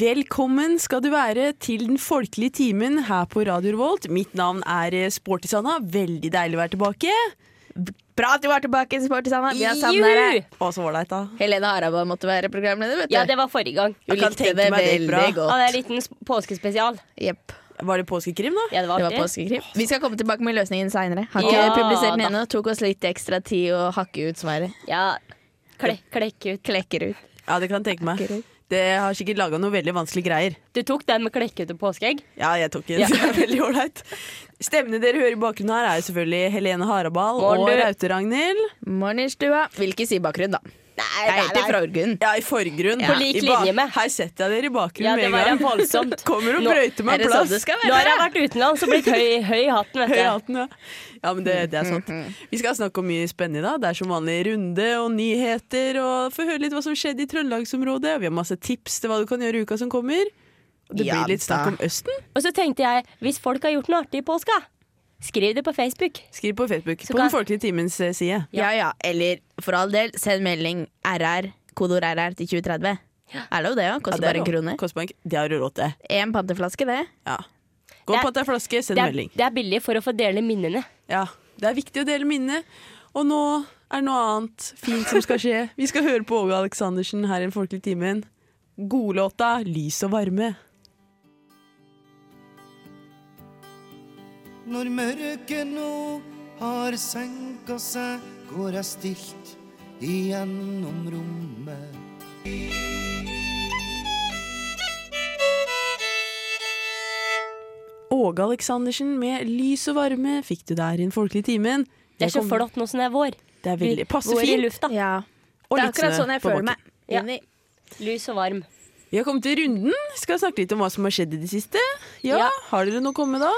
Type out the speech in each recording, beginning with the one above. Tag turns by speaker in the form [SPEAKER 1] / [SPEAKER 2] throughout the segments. [SPEAKER 1] Velkommen skal du være til den folkelige timen her på Radio Revolt. Mitt navn er eh, Sporty Sanna. Veldig deilig å være tilbake.
[SPEAKER 2] Bra at du var tilbake, Sporty Sanna. Vi har savna
[SPEAKER 3] Juhu!
[SPEAKER 2] deg.
[SPEAKER 1] Å, så ålreit, da.
[SPEAKER 2] Helene Harabad måtte være programleder, vet du.
[SPEAKER 3] Ja, det var forrige gang.
[SPEAKER 2] du
[SPEAKER 1] Jeg kan
[SPEAKER 2] likte
[SPEAKER 1] tenke
[SPEAKER 2] det
[SPEAKER 1] meg det
[SPEAKER 2] veldig
[SPEAKER 1] gikk bra.
[SPEAKER 3] Ja,
[SPEAKER 2] godt.
[SPEAKER 3] det er en liten s- påskespesial.
[SPEAKER 2] Jepp.
[SPEAKER 1] Var det påskekrim, da?
[SPEAKER 3] Ja, det var
[SPEAKER 2] Det var
[SPEAKER 3] artig.
[SPEAKER 2] påskekrim. Vi skal komme tilbake med løsningen seinere. Har ikke
[SPEAKER 3] Ja,
[SPEAKER 2] publisert den
[SPEAKER 3] da.
[SPEAKER 2] ennå. Tok oss litt ekstra tid å hakke ut svaret.
[SPEAKER 3] Ja. Klek, klekk ut.
[SPEAKER 2] Klekker ut.
[SPEAKER 1] Ja, det kan jeg tenke meg. Det har sikkert laga noe veldig vanskelige greier.
[SPEAKER 3] Du tok den med klekkete påskeegg?
[SPEAKER 1] Ja, jeg tok den. Det er veldig ålreit. Stemmene dere hører i bakgrunnen her, er jo selvfølgelig Helene Harabal
[SPEAKER 3] Morgen,
[SPEAKER 1] og
[SPEAKER 3] du.
[SPEAKER 1] Raute-Ragnhild.
[SPEAKER 2] Morgen i stua. Vil ikke si bakgrunn, da.
[SPEAKER 3] Nei,
[SPEAKER 2] Jeg heter Frorgunn.
[SPEAKER 1] Ja, i forgrunn.
[SPEAKER 3] På
[SPEAKER 1] I
[SPEAKER 3] lik
[SPEAKER 1] ba-
[SPEAKER 3] linje med.
[SPEAKER 1] Her setter jeg dere i
[SPEAKER 3] Ja,
[SPEAKER 1] bakgrunnen
[SPEAKER 3] det
[SPEAKER 1] med
[SPEAKER 3] var
[SPEAKER 1] en gang.
[SPEAKER 3] voldsomt.
[SPEAKER 1] Kommer og
[SPEAKER 3] Nå-
[SPEAKER 1] brøyter
[SPEAKER 2] Er
[SPEAKER 1] meg
[SPEAKER 2] det sånn det
[SPEAKER 1] plass.
[SPEAKER 2] skal
[SPEAKER 3] Nå har jeg
[SPEAKER 2] være?
[SPEAKER 3] vært utenlands og blitt høy, høy i hatten, vet
[SPEAKER 1] Høy i
[SPEAKER 3] du.
[SPEAKER 1] hatten, ja. Ja, men det, det er sant. Vi skal snakke om mye spennende i dag. Det er som vanlig runde og nyheter, og få høre litt hva som skjedde i Trøndelagsområdet. Vi har masse tips til hva du kan gjøre i uka som kommer. Og det
[SPEAKER 2] Ja
[SPEAKER 1] blir litt
[SPEAKER 2] da.
[SPEAKER 1] snakk om Østen.
[SPEAKER 3] Og så tenkte jeg, hvis folk har gjort noe artig i påska, skriv det på Facebook.
[SPEAKER 1] Skriv på Facebook. på
[SPEAKER 3] kan-
[SPEAKER 1] Den folkelige timens eh, side.
[SPEAKER 2] Ja ja. Eller for all del, send melding RR, kodeord RR til 2030. Er lov det òg?
[SPEAKER 1] Ja,
[SPEAKER 2] Koster
[SPEAKER 1] det er
[SPEAKER 2] bare en
[SPEAKER 1] lov.
[SPEAKER 2] krone.
[SPEAKER 1] Koster bare en kr- Det har du råd til.
[SPEAKER 2] Én panteflaske, det.
[SPEAKER 1] Ja. Gå
[SPEAKER 3] Det er-
[SPEAKER 1] på at det er flaske, send
[SPEAKER 3] Det er,
[SPEAKER 1] melding.
[SPEAKER 3] det er billig for å få dele minnene.
[SPEAKER 1] Ja. Det er viktig å dele minnet. Og nå er det noe annet fint som skal skje. Vi skal høre på Åge Aleksandersen her i Den folkelige timen. Godlåta 'Lys og varme'.
[SPEAKER 4] Når mørket nå har senka seg, går jeg stilt igjennom rommet.
[SPEAKER 1] Åge Aleksandersen med lys og varme fikk du der i den folkelige timen.
[SPEAKER 3] Det er så
[SPEAKER 1] Jeg kom-
[SPEAKER 3] flott nå som det er vår.
[SPEAKER 1] Det er veldig passe
[SPEAKER 3] Vår i
[SPEAKER 1] fint.
[SPEAKER 3] lufta.
[SPEAKER 2] Ja.
[SPEAKER 1] Og
[SPEAKER 2] Det er
[SPEAKER 1] litt
[SPEAKER 2] akkurat
[SPEAKER 1] snø
[SPEAKER 2] sånn jeg
[SPEAKER 1] på
[SPEAKER 2] føler
[SPEAKER 1] bakken.
[SPEAKER 2] meg.
[SPEAKER 3] Ja.
[SPEAKER 2] Enig.
[SPEAKER 3] Lys og varm.
[SPEAKER 1] Vi har kommet til runden. Skal snakke litt om hva som har skjedd i det siste. Ja,
[SPEAKER 3] Ja.
[SPEAKER 1] Har dere noe å komme med da?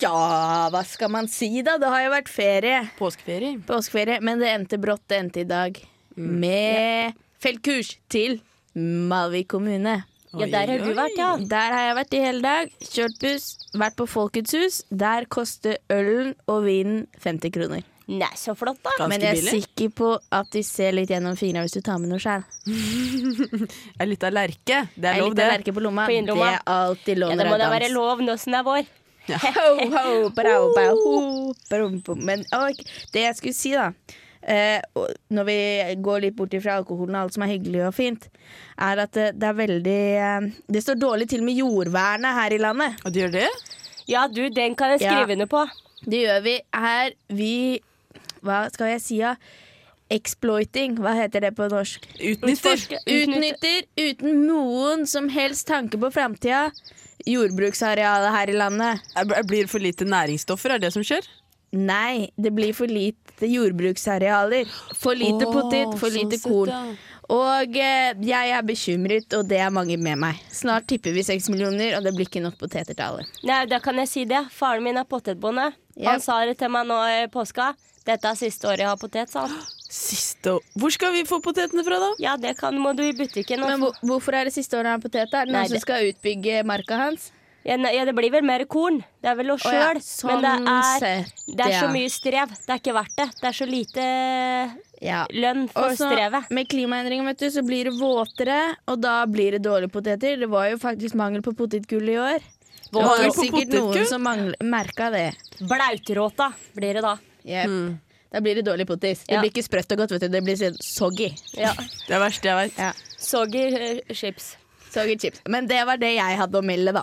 [SPEAKER 2] Ja, hva skal man si da? Det har jo vært ferie.
[SPEAKER 1] Påskeferie.
[SPEAKER 2] Påskeferie. Men det endte brått. Det endte i dag med feltkurs til Malvik kommune.
[SPEAKER 3] Ja, der har du vært, ja.
[SPEAKER 2] Der har jeg vært i hele dag. Kjørt buss, vært på Folkets hus. Der koster ølen og vinen 50 kroner.
[SPEAKER 3] Nei, så flott da.
[SPEAKER 1] Ganske
[SPEAKER 2] Men jeg er
[SPEAKER 1] billig.
[SPEAKER 2] sikker på at de ser litt gjennom fingra hvis du tar med noe sjøl.
[SPEAKER 1] Er litt av lerke. Det er
[SPEAKER 2] En
[SPEAKER 1] lov,
[SPEAKER 2] liten
[SPEAKER 1] det.
[SPEAKER 2] lerke på lomma,
[SPEAKER 3] På
[SPEAKER 2] det
[SPEAKER 3] innerlomma.
[SPEAKER 2] er alltid lov
[SPEAKER 3] Ja,
[SPEAKER 2] når
[SPEAKER 3] det må
[SPEAKER 2] det
[SPEAKER 3] da
[SPEAKER 2] er
[SPEAKER 3] være
[SPEAKER 2] dans.
[SPEAKER 3] lov nå som det er vår.
[SPEAKER 2] Ho, ho, brau, brau, ho, brum, brum. Men ok, det jeg skulle si, da eh, og Når vi går litt bort ifra alkoholen og alt som er hyggelig og fint, er at det, det er veldig eh, Det står dårlig til med jordvernet her i landet.
[SPEAKER 1] Og du gjør det?
[SPEAKER 3] Ja, du, den kan jeg
[SPEAKER 2] Ja.
[SPEAKER 3] skrive under på.
[SPEAKER 2] Det gjør vi her. Vi Hva skal jeg si, da? Exploiting. Hva heter det på norsk?
[SPEAKER 1] Utnytter.
[SPEAKER 3] Utforske.
[SPEAKER 2] Utnytter uten noen som helst tanke på framtida jordbruksarealet her i landet.
[SPEAKER 1] Er- er- Blir det for lite næringsstoffer, er det som skjer?
[SPEAKER 2] Nei, det blir for lite jordbruksarealer. For lite
[SPEAKER 1] Åh,
[SPEAKER 2] potet, for
[SPEAKER 1] sånn
[SPEAKER 2] lite
[SPEAKER 1] sett,
[SPEAKER 2] korn.
[SPEAKER 1] ja.
[SPEAKER 2] Og eh, jeg er bekymret, og det er mange med meg. Snart tipper vi seks millioner, og det blir ikke nok poteter til alle.
[SPEAKER 3] Nei, da kan jeg si det. Faren min er potetbonde.
[SPEAKER 2] Ja.
[SPEAKER 3] Han sa det til meg nå i påska. Dette er siste året jeg har potet, sa han.
[SPEAKER 1] Siste å- Hvor skal vi få potetene fra, da?
[SPEAKER 3] Ja, det kan, må du i butikken. og få-
[SPEAKER 2] Men hvor- hvorfor er det siste året av potet? Er det
[SPEAKER 3] Nei,
[SPEAKER 2] noen som
[SPEAKER 3] det-
[SPEAKER 2] skal utbygge marka hans?
[SPEAKER 3] ja, nei, ja, det blir vel mer korn. Det er vel oss
[SPEAKER 2] Å ja,
[SPEAKER 3] sjøl. men
[SPEAKER 2] sånn
[SPEAKER 3] det er,
[SPEAKER 2] sett,
[SPEAKER 3] det er så
[SPEAKER 2] ja.
[SPEAKER 3] mye strev. Det er ikke verdt det. Det er så lite
[SPEAKER 2] Ja.
[SPEAKER 3] lønn for
[SPEAKER 2] Og så
[SPEAKER 3] strevet.
[SPEAKER 2] med klimaendringer vet du, så blir det våtere, og da blir det dårlige poteter. Det var jo faktisk mangel på potetgull i år. Det
[SPEAKER 1] Mangel
[SPEAKER 2] var jo
[SPEAKER 1] på
[SPEAKER 2] sikkert
[SPEAKER 1] potetgull?
[SPEAKER 2] noen som mangl- merka det.
[SPEAKER 3] Blautråta blir det da.
[SPEAKER 2] Jep. Mm. Da blir det dårlig potis. Det
[SPEAKER 3] Ja.
[SPEAKER 2] blir ikke sprøtt og godt, vet du. Det blir sånn soggy.
[SPEAKER 3] Ja.
[SPEAKER 1] Det er verst jeg veit.
[SPEAKER 2] Ja.
[SPEAKER 3] Soggy eh, chips.
[SPEAKER 2] Soggy chips. Men det var det jeg hadde å melde, da.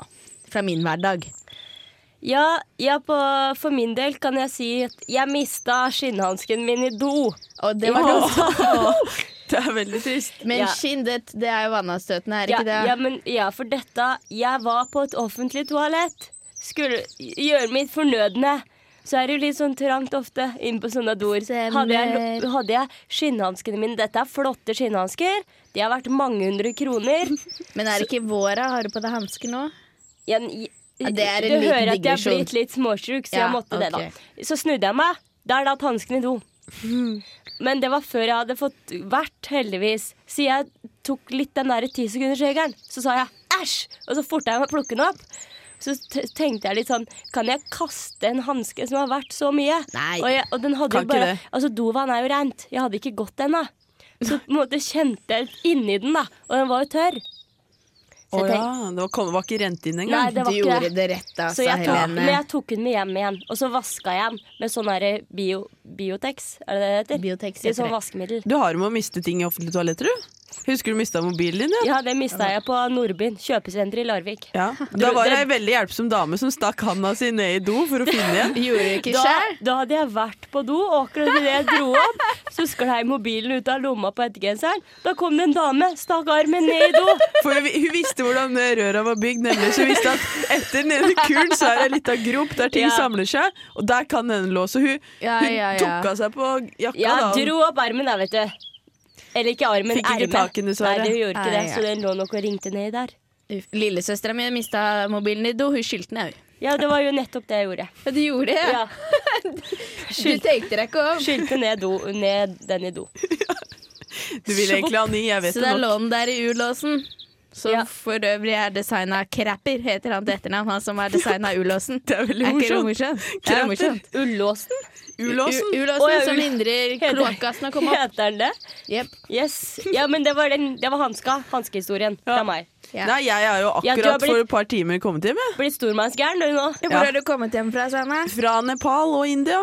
[SPEAKER 2] Fra min hverdag.
[SPEAKER 3] Ja, ja på, for min del kan jeg si at jeg mista skinnhansken min i do.
[SPEAKER 2] Og det var dumt.
[SPEAKER 1] Det er veldig trist.
[SPEAKER 2] Men
[SPEAKER 3] Ja.
[SPEAKER 2] skinn, det, det er jo vannavstøtende, er
[SPEAKER 3] Ja,
[SPEAKER 2] ikke det?
[SPEAKER 3] ja, men, ja, for dette Jeg var på et offentlig toalett. Skulle gjøre mitt fornødne. Så er det jo litt sånn trangt ofte inn på sånne doer.
[SPEAKER 2] Stemmer.
[SPEAKER 3] Hadde jeg, lo- hadde jeg skinnhanskene mine Dette er flotte skinnhansker. De har vært mange hundre kroner.
[SPEAKER 2] Men er det ikke våra? Har du på deg hansker nå?
[SPEAKER 3] Jeg, jeg,
[SPEAKER 2] Ja, det er en
[SPEAKER 3] du
[SPEAKER 2] liten
[SPEAKER 3] hører at jeg er
[SPEAKER 2] digresjon.
[SPEAKER 3] blitt litt småsjuk, så
[SPEAKER 2] Ja,
[SPEAKER 3] jeg måtte
[SPEAKER 2] ok.
[SPEAKER 3] det, da. Så snudde jeg meg. Da er det at hansken i do.
[SPEAKER 2] Mm.
[SPEAKER 3] Men det var før jeg hadde fått vært, heldigvis. Så jeg tok litt den der tisekundersregelen. Så sa jeg æsj! Og så forta jeg meg å plukke den opp. Så t tenkte jeg litt sånn Kan jeg kaste en hanske som har vært så mye?
[SPEAKER 2] Nei.
[SPEAKER 3] Og, jeg, og den hadde
[SPEAKER 1] Kan
[SPEAKER 3] jo
[SPEAKER 1] ikke
[SPEAKER 3] bare
[SPEAKER 1] det.
[SPEAKER 3] Altså, dovann er jo rent. Jeg hadde ikke gått ennå. Så på en måte kjente jeg litt inni den, da. Og den var jo tørr.
[SPEAKER 1] Å
[SPEAKER 3] Så jeg tenkte,
[SPEAKER 1] ja, det var, kom, var ikke rent inn
[SPEAKER 3] Nei,
[SPEAKER 1] engang.
[SPEAKER 3] det var
[SPEAKER 2] du
[SPEAKER 3] ikke
[SPEAKER 2] gjorde det rett, da,
[SPEAKER 3] så
[SPEAKER 2] sa
[SPEAKER 3] jeg tok, men
[SPEAKER 2] Altså, Helene.
[SPEAKER 3] jeg tok den med hjem igjen, og så vaska jeg den med sånn her bio, Biotex, er det det det heter?
[SPEAKER 2] Biotex
[SPEAKER 3] Det er sånn
[SPEAKER 2] heter
[SPEAKER 3] vaskemiddel.
[SPEAKER 1] Du har med å miste ting i offentlige toaletter, du. Husker du mista mobilen din, ja?
[SPEAKER 3] Ja, det mista jeg på Nordbyen kjøpesenter i Larvik.
[SPEAKER 1] Ja. Da var det ei veldig hjelpsom dame som stakk handa si ned i do for å finne igjen.
[SPEAKER 2] Gjorde du ikke
[SPEAKER 3] Da,
[SPEAKER 2] sjæl?
[SPEAKER 3] da hadde jeg vært på do, og akkurat idet jeg dro opp, så sklei mobilen ut av lomma på hettegenseren. Da kom det en dame, stakk armen ned i do.
[SPEAKER 1] For hun, hun visste hvordan eh, røra var bygd, nemlig. Så hun visste at etter den ene kulen så er det ei lita grop der ting
[SPEAKER 3] Ja.
[SPEAKER 1] samler seg, og der kan den lå. Så hun,
[SPEAKER 2] Ja,
[SPEAKER 1] hun
[SPEAKER 2] ja, ja.
[SPEAKER 1] tok av seg på jakka
[SPEAKER 3] Jeg
[SPEAKER 1] da. og-
[SPEAKER 3] dro opp armen der, vet du. Eller ikke armen,
[SPEAKER 1] Fikk ikke
[SPEAKER 3] ermet.
[SPEAKER 1] tak i den, dessverre.
[SPEAKER 3] Nei, det gjorde ikke
[SPEAKER 2] Nei,
[SPEAKER 3] det,
[SPEAKER 2] ja.
[SPEAKER 3] så den lå nok og ringte ned der.
[SPEAKER 2] Lillesøstera mi mista mobilen i do. Hun skyldte den, jeg òg.
[SPEAKER 3] Ja, det var jo nettopp det jeg gjorde.
[SPEAKER 2] Ja, du gjorde det?
[SPEAKER 3] Ja,
[SPEAKER 2] Du tenkte deg ikke om?
[SPEAKER 3] Skylte ned, do, ned den i do.
[SPEAKER 1] Du ville egentlig ha ny, jeg vet
[SPEAKER 2] Så
[SPEAKER 1] det
[SPEAKER 2] der
[SPEAKER 1] nok.
[SPEAKER 2] lå den der i urlåsen. Som
[SPEAKER 3] Ja.
[SPEAKER 2] for øvrig er designa Krapper, heter han til etternavn. Han som er designa urlåsen.
[SPEAKER 1] Det er veldig
[SPEAKER 2] ikke det
[SPEAKER 1] morsomt.
[SPEAKER 2] morsomt? Det er morsomt.
[SPEAKER 3] Ullåsen,
[SPEAKER 1] Ulåsen.
[SPEAKER 2] U- Urlåsen
[SPEAKER 3] Å, ja,
[SPEAKER 2] som
[SPEAKER 3] ul-
[SPEAKER 2] hindrer
[SPEAKER 3] Heter-
[SPEAKER 2] kloakkgassen å komme opp.
[SPEAKER 3] heter den det?
[SPEAKER 2] Jep.
[SPEAKER 3] Yes. Ja, men det var, den, det var hanska. Hanskehistorien
[SPEAKER 1] Ja.
[SPEAKER 3] fra meg.
[SPEAKER 2] Ja.
[SPEAKER 1] Nei, jeg er jo
[SPEAKER 3] Ja, du
[SPEAKER 1] akkurat
[SPEAKER 3] har blitt-
[SPEAKER 1] for et par timer kommet hjem, jeg.
[SPEAKER 3] Blitt stormannsgæren du nå.
[SPEAKER 2] Hvor
[SPEAKER 1] Ja.
[SPEAKER 2] har du kommet hjem fra, Sanne?
[SPEAKER 1] Fra Nepal og India.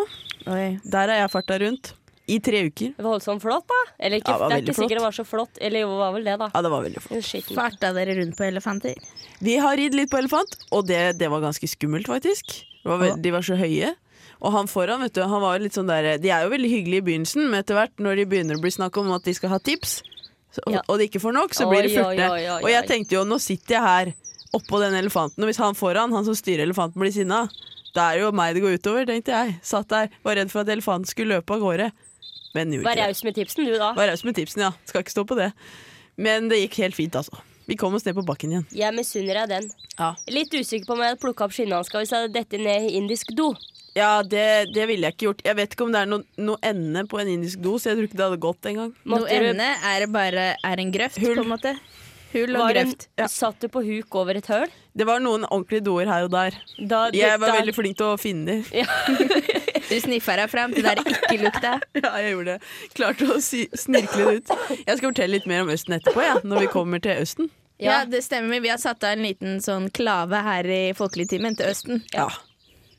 [SPEAKER 2] Oi.
[SPEAKER 1] Der har jeg farta rundt. I tre uker.
[SPEAKER 3] Det var voldsomt flott, da. Eller ikke,
[SPEAKER 1] Ja, det var
[SPEAKER 3] det er
[SPEAKER 1] veldig
[SPEAKER 3] ikke sikkert det var så flott. Eller jo, det var vel det, da.
[SPEAKER 1] Ja, det var veldig flott.
[SPEAKER 3] Men skitten.
[SPEAKER 2] Farta dere rundt på elefanter?
[SPEAKER 1] Vi har ridd litt på elefant, og det, det var ganske skummelt, faktisk. Det var veld, de var så høye. Og han foran, vet du, han var litt sånn der De er jo veldig hyggelige i begynnelsen, men etter hvert, når de begynner å bli snakk om at de skal ha tips, så,
[SPEAKER 3] Ja.
[SPEAKER 1] og de ikke får nok, så
[SPEAKER 3] Oi,
[SPEAKER 1] blir det
[SPEAKER 3] oi,
[SPEAKER 1] furte.
[SPEAKER 3] oi, oi,
[SPEAKER 1] Og jeg
[SPEAKER 3] oi.
[SPEAKER 1] tenkte jo, nå sitter jeg her oppå den elefanten, og hvis han foran, han som styrer elefanten, blir sinna, da er det jo meg det går utover, tenkte jeg. Satt der, var redd for at elefanten skulle løpe av gårde. Men den gjorde
[SPEAKER 3] Vær
[SPEAKER 1] ikke det.
[SPEAKER 3] raus med tipsen, du, da.
[SPEAKER 1] Var raus med tipsene, ja. Skal ikke stå på det. Men det gikk helt fint, altså. Vi kom oss ned på bakken igjen.
[SPEAKER 3] Jeg misunner deg den.
[SPEAKER 1] Ja,
[SPEAKER 3] Litt usikker på om jeg hadde plukka opp skinnhanska hvis jeg hadde dette ned i indisk do.
[SPEAKER 1] det, det ville jeg ikke gjort. Jeg vet ikke om det er noe, noe ende på en indisk do, så jeg tror ikke det hadde gått engang.
[SPEAKER 2] Noe
[SPEAKER 3] Måtte du
[SPEAKER 2] ende er bare er en grøft,
[SPEAKER 1] Hull.
[SPEAKER 2] på en måte. Hull og
[SPEAKER 3] var en,
[SPEAKER 2] grøft.
[SPEAKER 1] Ja.
[SPEAKER 3] Satt du på huk over et høl?
[SPEAKER 1] Det var noen ordentlige doer her og der.
[SPEAKER 3] Da,
[SPEAKER 1] Jeg var
[SPEAKER 3] da-
[SPEAKER 1] veldig flink til å finne de.
[SPEAKER 2] Du sniffa deg fram til der det ikke lukta.
[SPEAKER 1] Ja, jeg gjorde det. Klarte å si, snirkle det ut. Jeg skal fortelle litt mer om Østen etterpå, ja, når vi kommer til Østen.
[SPEAKER 2] Ja,
[SPEAKER 3] Ja.
[SPEAKER 2] det stemmer. Vi har satt av en liten sånn klave her i Folkeligtimen til Østen.
[SPEAKER 1] Ja.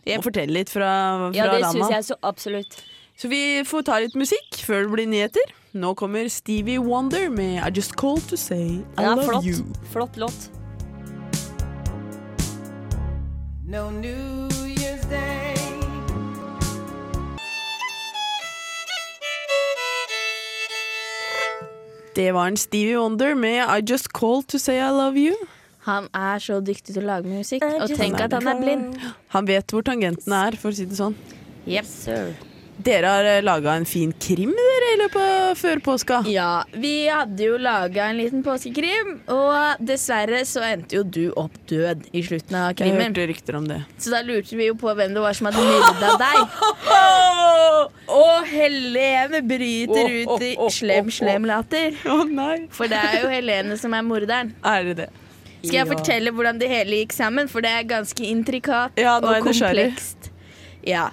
[SPEAKER 1] Og fortelle litt fra,
[SPEAKER 3] Ja,
[SPEAKER 1] fra
[SPEAKER 3] det syns
[SPEAKER 1] landa.
[SPEAKER 3] jeg så absolutt.
[SPEAKER 1] Så vi får ta litt musikk før det blir nyheter. Nå kommer Stevie Wonder med I Just Called To Say I
[SPEAKER 3] Den er
[SPEAKER 1] Love
[SPEAKER 3] flott.
[SPEAKER 1] You.
[SPEAKER 3] Flott låt.
[SPEAKER 4] No New Year's Day.
[SPEAKER 1] Det var en Stevie Wonder med I Just Called To Say I Love You.
[SPEAKER 2] Han er så dyktig til å lage musikk, og tenk at han er blind.
[SPEAKER 1] Han vet hvor tangentene er, for å si det sånn.
[SPEAKER 2] Jepp.
[SPEAKER 1] Dere har laga en fin krim dere i løpet av før påska.
[SPEAKER 2] Ja, vi hadde jo laga en liten påskekrim, og dessverre så endte jo du opp død i slutten av
[SPEAKER 1] Jeg
[SPEAKER 2] krimmen.
[SPEAKER 1] hørte rykter om det.
[SPEAKER 2] Så da lurte vi jo på hvem det var som hadde myrda deg. Og Helene bryter ut i slem, slem later.
[SPEAKER 1] Å nei.
[SPEAKER 2] For det er jo Helene som er morderen.
[SPEAKER 1] Er det det?
[SPEAKER 2] Skal jeg
[SPEAKER 1] Ja.
[SPEAKER 2] fortelle hvordan det hele gikk sammen? For det er ganske intrikat
[SPEAKER 1] Ja, nå er jeg
[SPEAKER 2] og
[SPEAKER 1] nysgjerrig.
[SPEAKER 2] komplekst. Ja.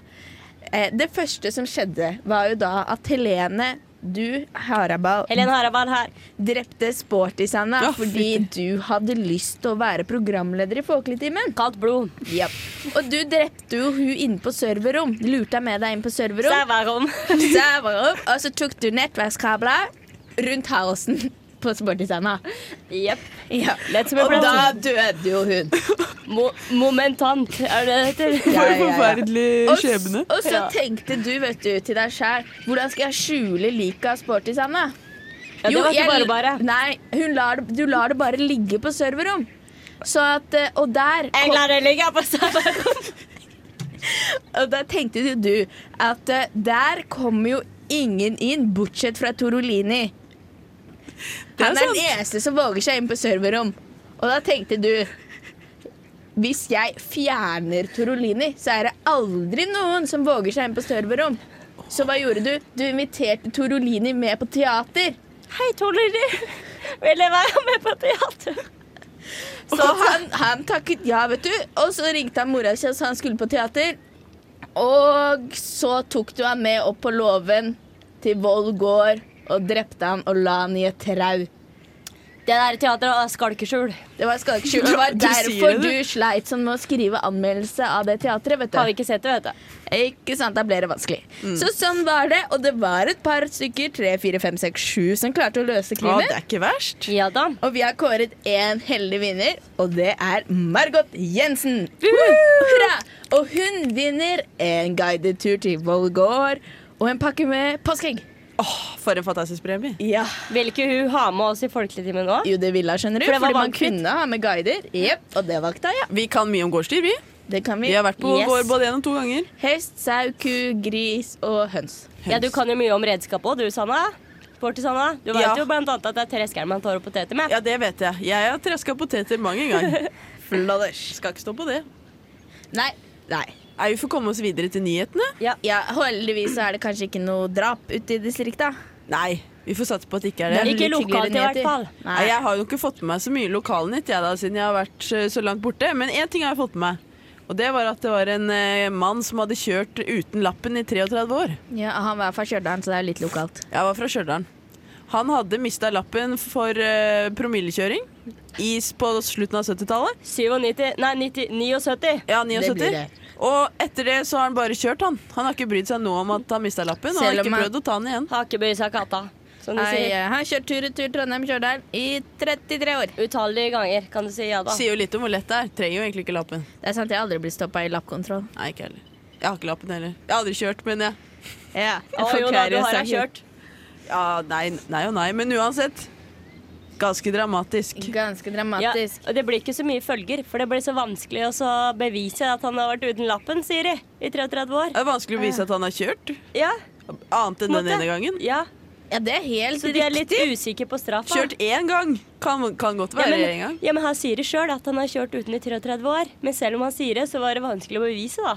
[SPEAKER 2] Eh, Det første som skjedde, var jo da at Helene, du, Harabal,
[SPEAKER 3] Helen Harabal her.
[SPEAKER 2] drepte Sporty-Sanna
[SPEAKER 1] Ja,
[SPEAKER 2] fordi du hadde lyst til å være programleder i Folkeligtimen.
[SPEAKER 3] Kaldt blod.
[SPEAKER 2] Japp. Og du drepte jo hun inne på serverrom. Lurte deg med deg inn på serverrom.
[SPEAKER 3] Sævarom.
[SPEAKER 2] Serverrom. Og så tok du nettverkskabler rundt halsen på Sporty-Sanna.
[SPEAKER 3] Jepp.
[SPEAKER 2] Ja.
[SPEAKER 3] Lett som en
[SPEAKER 2] Og da
[SPEAKER 3] blomst.
[SPEAKER 2] døde jo hun.
[SPEAKER 3] Mo momentant, er det det heter?
[SPEAKER 2] Ja,
[SPEAKER 1] For
[SPEAKER 2] ja,
[SPEAKER 1] en
[SPEAKER 2] ja.
[SPEAKER 1] forferdelig
[SPEAKER 2] Og s-
[SPEAKER 1] skjebne.
[SPEAKER 2] Og så tenkte du vet du, til deg sjæl hvordan skal jeg skjule liket av Sporty Sanna?
[SPEAKER 3] Ja, det var ikke
[SPEAKER 2] jeg-
[SPEAKER 3] bare bare.
[SPEAKER 2] Nei, hun lar, det- du lar det bare ligge på serverrom. Så at, eh, og der
[SPEAKER 3] Jeg
[SPEAKER 2] kom-
[SPEAKER 3] lar det ligge på Sævarom.
[SPEAKER 2] Og da tenkte jo du at eh, der kommer jo ingen inn, bortsett fra Torolini.
[SPEAKER 1] Det er
[SPEAKER 2] Han er den
[SPEAKER 1] sant.
[SPEAKER 2] eneste som våger seg inn på serverrom. Og da tenkte du hvis jeg fjerner Torolini, så er det aldri noen som våger seg inn på serverrom. Så hva gjorde du? Du inviterte Torolini med på teater.
[SPEAKER 3] Hei, Tolleri. Vil jeg være med på teater?
[SPEAKER 2] Så han, han takket ja, vet du. Og så ringte han mora si og sa han skulle på teater. Og så tok du han med opp på låven til Voll gård og drepte han og la han i et trau.
[SPEAKER 3] Det der teatret var skalkeskjul.
[SPEAKER 2] Det var skalkeskjul. Det var
[SPEAKER 1] Du sier det,
[SPEAKER 2] derfor du
[SPEAKER 1] du.
[SPEAKER 2] sleit sånn med å skrive anmeldelse av det teatret, vet du.
[SPEAKER 3] Har vi ikke sett det, vet du.
[SPEAKER 2] Ikke sant, da ble det vanskelig.
[SPEAKER 1] Mm.
[SPEAKER 2] Så sånn var det, og det var et par stykker, tre, fire, fem, seks, sju, som klarte å løse
[SPEAKER 1] Å,
[SPEAKER 2] krimen.
[SPEAKER 1] det er ikke verst.
[SPEAKER 3] Ja da.
[SPEAKER 2] og vi har kåret én heldig vinner, og det er Margot Jensen. Hurra! Og hun vinner en guidet tur til Vollgård og en pakke med påskeegg.
[SPEAKER 1] Åh, for en fantastisk premie.
[SPEAKER 2] Ja.
[SPEAKER 3] Vil ikke hun ha med oss i folkelig time nå?
[SPEAKER 2] Jo, det ville hun, skjønner du.
[SPEAKER 3] For det var
[SPEAKER 2] Fordi man
[SPEAKER 3] valgfritt.
[SPEAKER 2] kunne ha med guider. Jep, og det valgte hun, ja.
[SPEAKER 1] Vi kan mye om gårdsdyr, vi.
[SPEAKER 2] Det kan vi.
[SPEAKER 1] Vi har vært på
[SPEAKER 3] Yes.
[SPEAKER 1] gård både gjennom to ganger.
[SPEAKER 2] Hest, sau, ku, gris og høns.
[SPEAKER 3] Ja, Du kan jo mye om redskap òg, du, Sanna. Sporty Sanna. Du vet
[SPEAKER 1] Ja.
[SPEAKER 3] jo blant annet at det er treskeren man tar opp poteter med.
[SPEAKER 1] Ja, det vet jeg. Jeg har treska poteter mang en gang.
[SPEAKER 2] Floders.
[SPEAKER 1] Skal ikke stå på det.
[SPEAKER 2] Nei. Nei.
[SPEAKER 1] Nei, vi får komme oss videre til nyhetene.
[SPEAKER 2] Ja, Heldigvis så er det kanskje ikke noe drap ute i distrikta.
[SPEAKER 1] Nei, vi får satse på at det ikke er det.
[SPEAKER 2] Det er
[SPEAKER 3] Ikke
[SPEAKER 2] litt hyggeligere
[SPEAKER 3] lokalt i hvert
[SPEAKER 2] nyheter.
[SPEAKER 3] fall.
[SPEAKER 1] Nei. Jeg har jo ikke fått med meg så mye lokalnytt jeg da, siden jeg har vært eh, så langt borte. Men én ting har jeg fått med meg. Og det var at det var en eh, mann som hadde kjørt uten lappen i 33 år.
[SPEAKER 2] Ja, han var fra Stjørdal, så det er litt lokalt.
[SPEAKER 1] Jeg var fra Stjørdal. Han hadde mista lappen for eh, promillekjøring i, på slutten av 70-tallet.
[SPEAKER 3] 97, nei, 90, 79.
[SPEAKER 1] Ja,
[SPEAKER 2] Det blir
[SPEAKER 1] 79.
[SPEAKER 2] det.
[SPEAKER 1] Og etter det så har han bare kjørt, han. Han har ikke brydd seg noe om at han mista lappen, og
[SPEAKER 2] Selv
[SPEAKER 1] har
[SPEAKER 2] om
[SPEAKER 1] ikke
[SPEAKER 2] han-
[SPEAKER 1] prøvd å ta den igjen.
[SPEAKER 3] Har ikke brydd seg katta, som du
[SPEAKER 2] Jeg
[SPEAKER 3] sier.
[SPEAKER 2] eh, har kjørt tur-retur Trondheim-Stjørdal i 33 år.
[SPEAKER 3] Utallige ganger kan du si ja da.
[SPEAKER 1] Sier jo litt om hvor lett det er. Trenger jo egentlig ikke lappen.
[SPEAKER 2] Det er sant, jeg har aldri blitt stoppa i lappkontroll.
[SPEAKER 1] Nei, ikke heller. Jeg har ikke lappen heller. Jeg har aldri kjørt, men jeg.
[SPEAKER 2] Ja,
[SPEAKER 3] Å jo da, du har da kjørt.
[SPEAKER 1] Ja, nei, nei og nei, men uansett. Ganske dramatisk.
[SPEAKER 2] Ganske
[SPEAKER 3] Ja,
[SPEAKER 2] dramatisk.
[SPEAKER 3] og det blir ikke så mye følger, for det blir så vanskelig å så bevise at han har vært uten lappen, sier de, i 33 år.
[SPEAKER 1] Det er vanskelig å vise at han har kjørt.
[SPEAKER 3] Ja,
[SPEAKER 1] Annet enn
[SPEAKER 3] Måte.
[SPEAKER 1] den ene gangen.
[SPEAKER 3] ja.
[SPEAKER 2] Ja, det er helt
[SPEAKER 3] Så de er litt
[SPEAKER 2] riktig.
[SPEAKER 3] usikre på straffa.
[SPEAKER 1] Kjørt én gang kan, kan godt
[SPEAKER 3] Ja,
[SPEAKER 1] være
[SPEAKER 3] men,
[SPEAKER 1] én gang.
[SPEAKER 3] ja, men han sier det sjøl, at han har kjørt uten i 33 år. Men selv om han sier det, så var det vanskelig å bevise, da.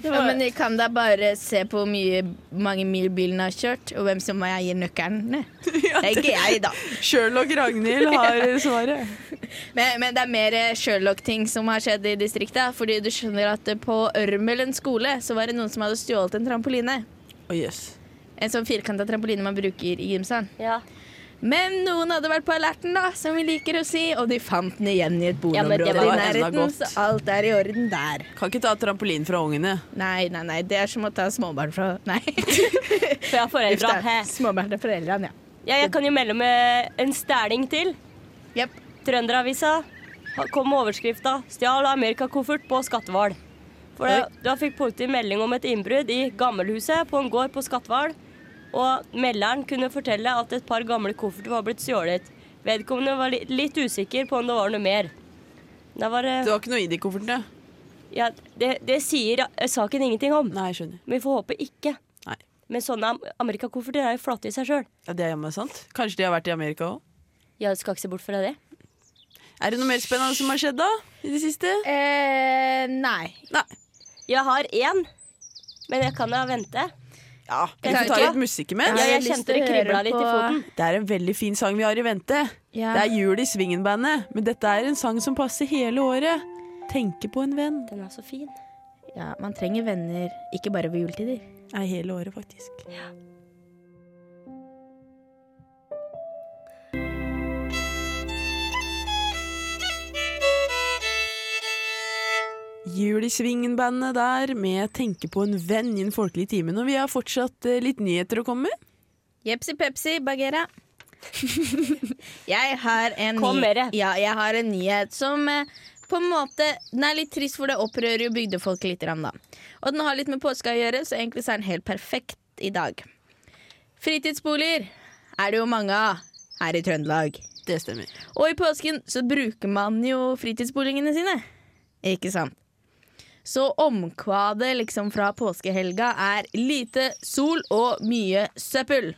[SPEAKER 3] Det
[SPEAKER 2] Ja,
[SPEAKER 3] var,
[SPEAKER 2] men vi kan da bare se på hvor mye, mange mil bilen har kjørt, og hvem som gir nøkkelen. Det er ikke jeg, da.
[SPEAKER 1] Sherlock Ragnhild har svaret.
[SPEAKER 2] Men, men det er mer eh, Sherlock-ting som har skjedd i distriktet. Fordi du skjønner at eh, på Ørmelen skole så var det noen som hadde stjålet en trampoline.
[SPEAKER 1] Å, jøss.
[SPEAKER 2] En sånn firkanta trampoline man bruker i gymsalen.
[SPEAKER 3] ja.
[SPEAKER 2] Men noen hadde vært på alerten, da, som vi liker å si, og de fant den igjen i et
[SPEAKER 3] Ja, men det
[SPEAKER 2] boligområde i
[SPEAKER 1] var enda
[SPEAKER 2] nærheten,
[SPEAKER 1] godt.
[SPEAKER 2] så alt er i orden der.
[SPEAKER 1] Kan ikke ta trampolin fra ungene.
[SPEAKER 2] Nei, nei, nei, det er som å ta småbarn fra Nei.
[SPEAKER 3] For jeg har
[SPEAKER 2] Uff
[SPEAKER 3] foreldra.
[SPEAKER 2] da. Småbarn fra foreldrene, ja.
[SPEAKER 3] Ja, jeg kan jo melde med en stæling til.
[SPEAKER 2] Jepp.
[SPEAKER 3] Trønderavisa har- kom med overskrifta 'Stjal Amerikakoffert på Skatval'. For det, da fikk politiet melding om et innbrudd i gammelhuset på en gård på Skatval. Og melderen kunne fortelle at et par gamle kofferter var blitt stjålet. Vedkommende var li litt usikker på om det var noe mer. Det, var, eh,
[SPEAKER 1] Du har ikke noe i de koffertene?
[SPEAKER 3] ja, det, det sier eh, saken ingenting om.
[SPEAKER 1] Nei, jeg skjønner.
[SPEAKER 3] Men vi får håpe ikke.
[SPEAKER 1] Nei.
[SPEAKER 3] Men sånne am- amerikakofferter er jo flate i seg sjøl.
[SPEAKER 1] Ja, det er jammen sant. Kanskje de har vært i Amerika òg.
[SPEAKER 3] Jeg skal ikke se bort fra det.
[SPEAKER 1] Er det noe mer spennende som har skjedd da? I det siste?
[SPEAKER 2] Eh, nei.
[SPEAKER 1] Nei.
[SPEAKER 3] Jeg har én, men jeg kan da vente.
[SPEAKER 1] Ja, vi
[SPEAKER 2] Jeg
[SPEAKER 1] får
[SPEAKER 2] kan
[SPEAKER 1] ta
[SPEAKER 2] ikke.
[SPEAKER 1] litt musikk imens.
[SPEAKER 3] Ja,
[SPEAKER 2] har
[SPEAKER 3] jeg
[SPEAKER 2] lyst
[SPEAKER 3] kjente
[SPEAKER 2] til
[SPEAKER 3] det
[SPEAKER 2] å høre
[SPEAKER 3] kribla litt i
[SPEAKER 2] på-
[SPEAKER 3] foten.
[SPEAKER 1] Det er en veldig fin sang vi har i vente.
[SPEAKER 2] Ja.
[SPEAKER 1] Det er jul i Svingen-bandet, men dette er en sang som passer hele året. Tenke på en venn.
[SPEAKER 3] Den er så fin.
[SPEAKER 2] Ja, man trenger venner, ikke bare ved juletider.
[SPEAKER 1] Nei, hele året, faktisk. Jul i Svingen-bandet der, med Tenke på en venn i den folkelige timen. Og vi har fortsatt eh, litt nyheter å komme med.
[SPEAKER 2] Jepsi pepsi, Bagheera. jeg har en
[SPEAKER 3] Kom med det.
[SPEAKER 2] Ja, jeg har en nyhet som eh, på en måte Den er litt trist, for det opprører jo bygdefolket litt. grann, Da. Og den har litt med påska å gjøre, så egentlig så er den helt perfekt i dag. Fritidsboliger er det jo mange av her i Trøndelag.
[SPEAKER 1] Det stemmer.
[SPEAKER 2] Og i påsken så bruker man jo fritidsboligene sine. Ikke sant? Så omkvadet liksom fra påskehelga er lite sol og mye søppel.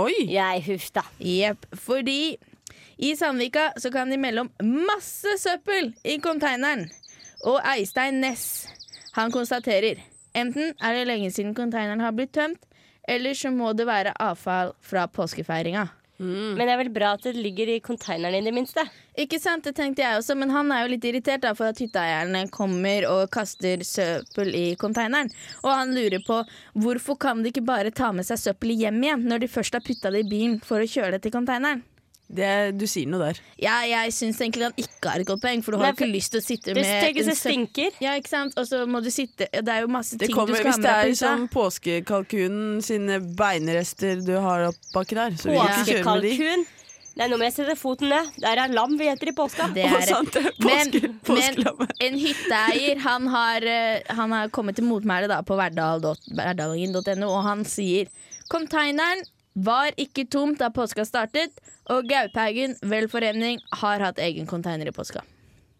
[SPEAKER 1] Oi!
[SPEAKER 3] Jeg huff da.
[SPEAKER 2] Jepp. Fordi i Sandvika så kan de melde om masse søppel i konteineren. Og Eistein Næss, han konstaterer enten er det lenge siden konteineren har blitt tømt, eller så må det være avfall fra påskefeiringa. Mm.
[SPEAKER 3] Men det er vel bra at det ligger i konteineren i det minste.
[SPEAKER 2] Ikke sant, det tenkte jeg også, men han er jo litt irritert da, for at hytteeierne kommer og kaster søppel i konteineren. Og han lurer på hvorfor kan de ikke bare ta med seg søppelet hjem igjen når de først har putta det i bilen for å kjøre det til konteineren.
[SPEAKER 1] Det, du sier noe der.
[SPEAKER 2] Ja, jeg syns egentlig han ikke har et godt poeng, for du
[SPEAKER 3] Nei,
[SPEAKER 2] har ikke
[SPEAKER 3] for-
[SPEAKER 2] lyst til å sitte
[SPEAKER 3] Det
[SPEAKER 2] med
[SPEAKER 3] tenker
[SPEAKER 2] en
[SPEAKER 3] det
[SPEAKER 2] sø-
[SPEAKER 3] stinker.
[SPEAKER 2] Ja, ikke sant? Og så må du sitte ja, Det er jo masse
[SPEAKER 1] Det
[SPEAKER 2] ting
[SPEAKER 1] kommer,
[SPEAKER 2] du skal
[SPEAKER 1] hvis
[SPEAKER 2] ha
[SPEAKER 1] det
[SPEAKER 2] med
[SPEAKER 1] er sånn
[SPEAKER 2] deg. på
[SPEAKER 1] som
[SPEAKER 2] hytta.
[SPEAKER 1] påskekalkunen sine beinrester du har opp baki der, så vil du ikke kjøre med de.
[SPEAKER 3] Påskekalkun. Nei, nå må jeg sette foten ned. Der er lam vi heter i påska.
[SPEAKER 2] Det
[SPEAKER 1] Å,
[SPEAKER 2] er-
[SPEAKER 1] sant det!
[SPEAKER 2] Men,
[SPEAKER 1] Påske,
[SPEAKER 2] men
[SPEAKER 1] påskelammet.
[SPEAKER 2] en hytteeier han har, eh, han har kommet til motmæle da, på hverdal dot- hverdagen.no, og han sier Containeren var ikke tom da påska startet, og Gauphaugen velforening har hatt egen container i påska.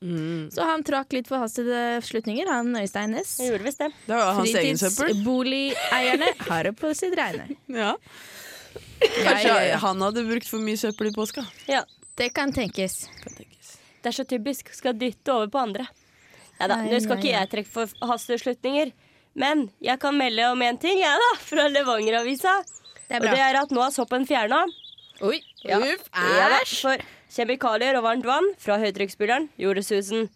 [SPEAKER 1] Mm.
[SPEAKER 2] Så han trakk litt forhastede slutninger, han Øystein Næss.
[SPEAKER 3] Jeg gjorde visst det.
[SPEAKER 1] Det var hans egen søppel.
[SPEAKER 2] Fritidsboligeierne har det på sitt regne.
[SPEAKER 1] Ja.
[SPEAKER 2] Ja,
[SPEAKER 1] Kanskje
[SPEAKER 2] ja, ja.
[SPEAKER 1] han hadde brukt for mye søppel i påska.
[SPEAKER 3] Ja.
[SPEAKER 2] Det kan tenkes.
[SPEAKER 1] Kan tenkes.
[SPEAKER 3] Det er så typisk. Skal dytte over på andre. Nei da,
[SPEAKER 2] Ai,
[SPEAKER 3] nå skal
[SPEAKER 2] ai,
[SPEAKER 3] ikke
[SPEAKER 2] ai.
[SPEAKER 3] jeg trekke forhastede slutninger. Men jeg kan melde om én ting, jeg, da, fra Levanger-avisa.
[SPEAKER 2] Det er
[SPEAKER 3] Og
[SPEAKER 2] bra.
[SPEAKER 3] det er at nå er soppen fjerna.
[SPEAKER 2] Oi,
[SPEAKER 3] Ja.
[SPEAKER 2] uff,
[SPEAKER 3] Ja da,
[SPEAKER 2] æsj!
[SPEAKER 3] For kjemikalier og varmt vann fra høytrykksspyleren gjorde susen.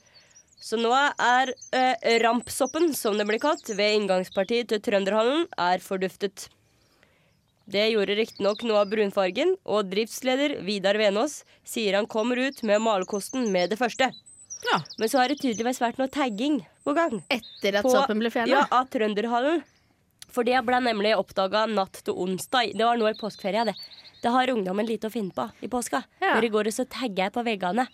[SPEAKER 3] Så nå er eh, rampsoppen, som det blir kalt, ved inngangspartiet til Trønderhallen, er forduftet. Det gjorde riktignok noe av brunfargen, og driftsleder Vidar Venås sier han kommer ut med malerkosten med det første.
[SPEAKER 1] Ja.
[SPEAKER 3] Men så har det tydeligvis vært noe tagging på gang.
[SPEAKER 2] Etter at
[SPEAKER 3] På-
[SPEAKER 2] soppen ble fjerna?
[SPEAKER 3] Ja, av Trønderhallen. For det ble nemlig oppdaga natt til onsdag. Det var nå i påskeferia, det. Det har ungdommen lite å finne på i påska.
[SPEAKER 2] Ja.
[SPEAKER 3] Når de går og så tagger jeg på veggene,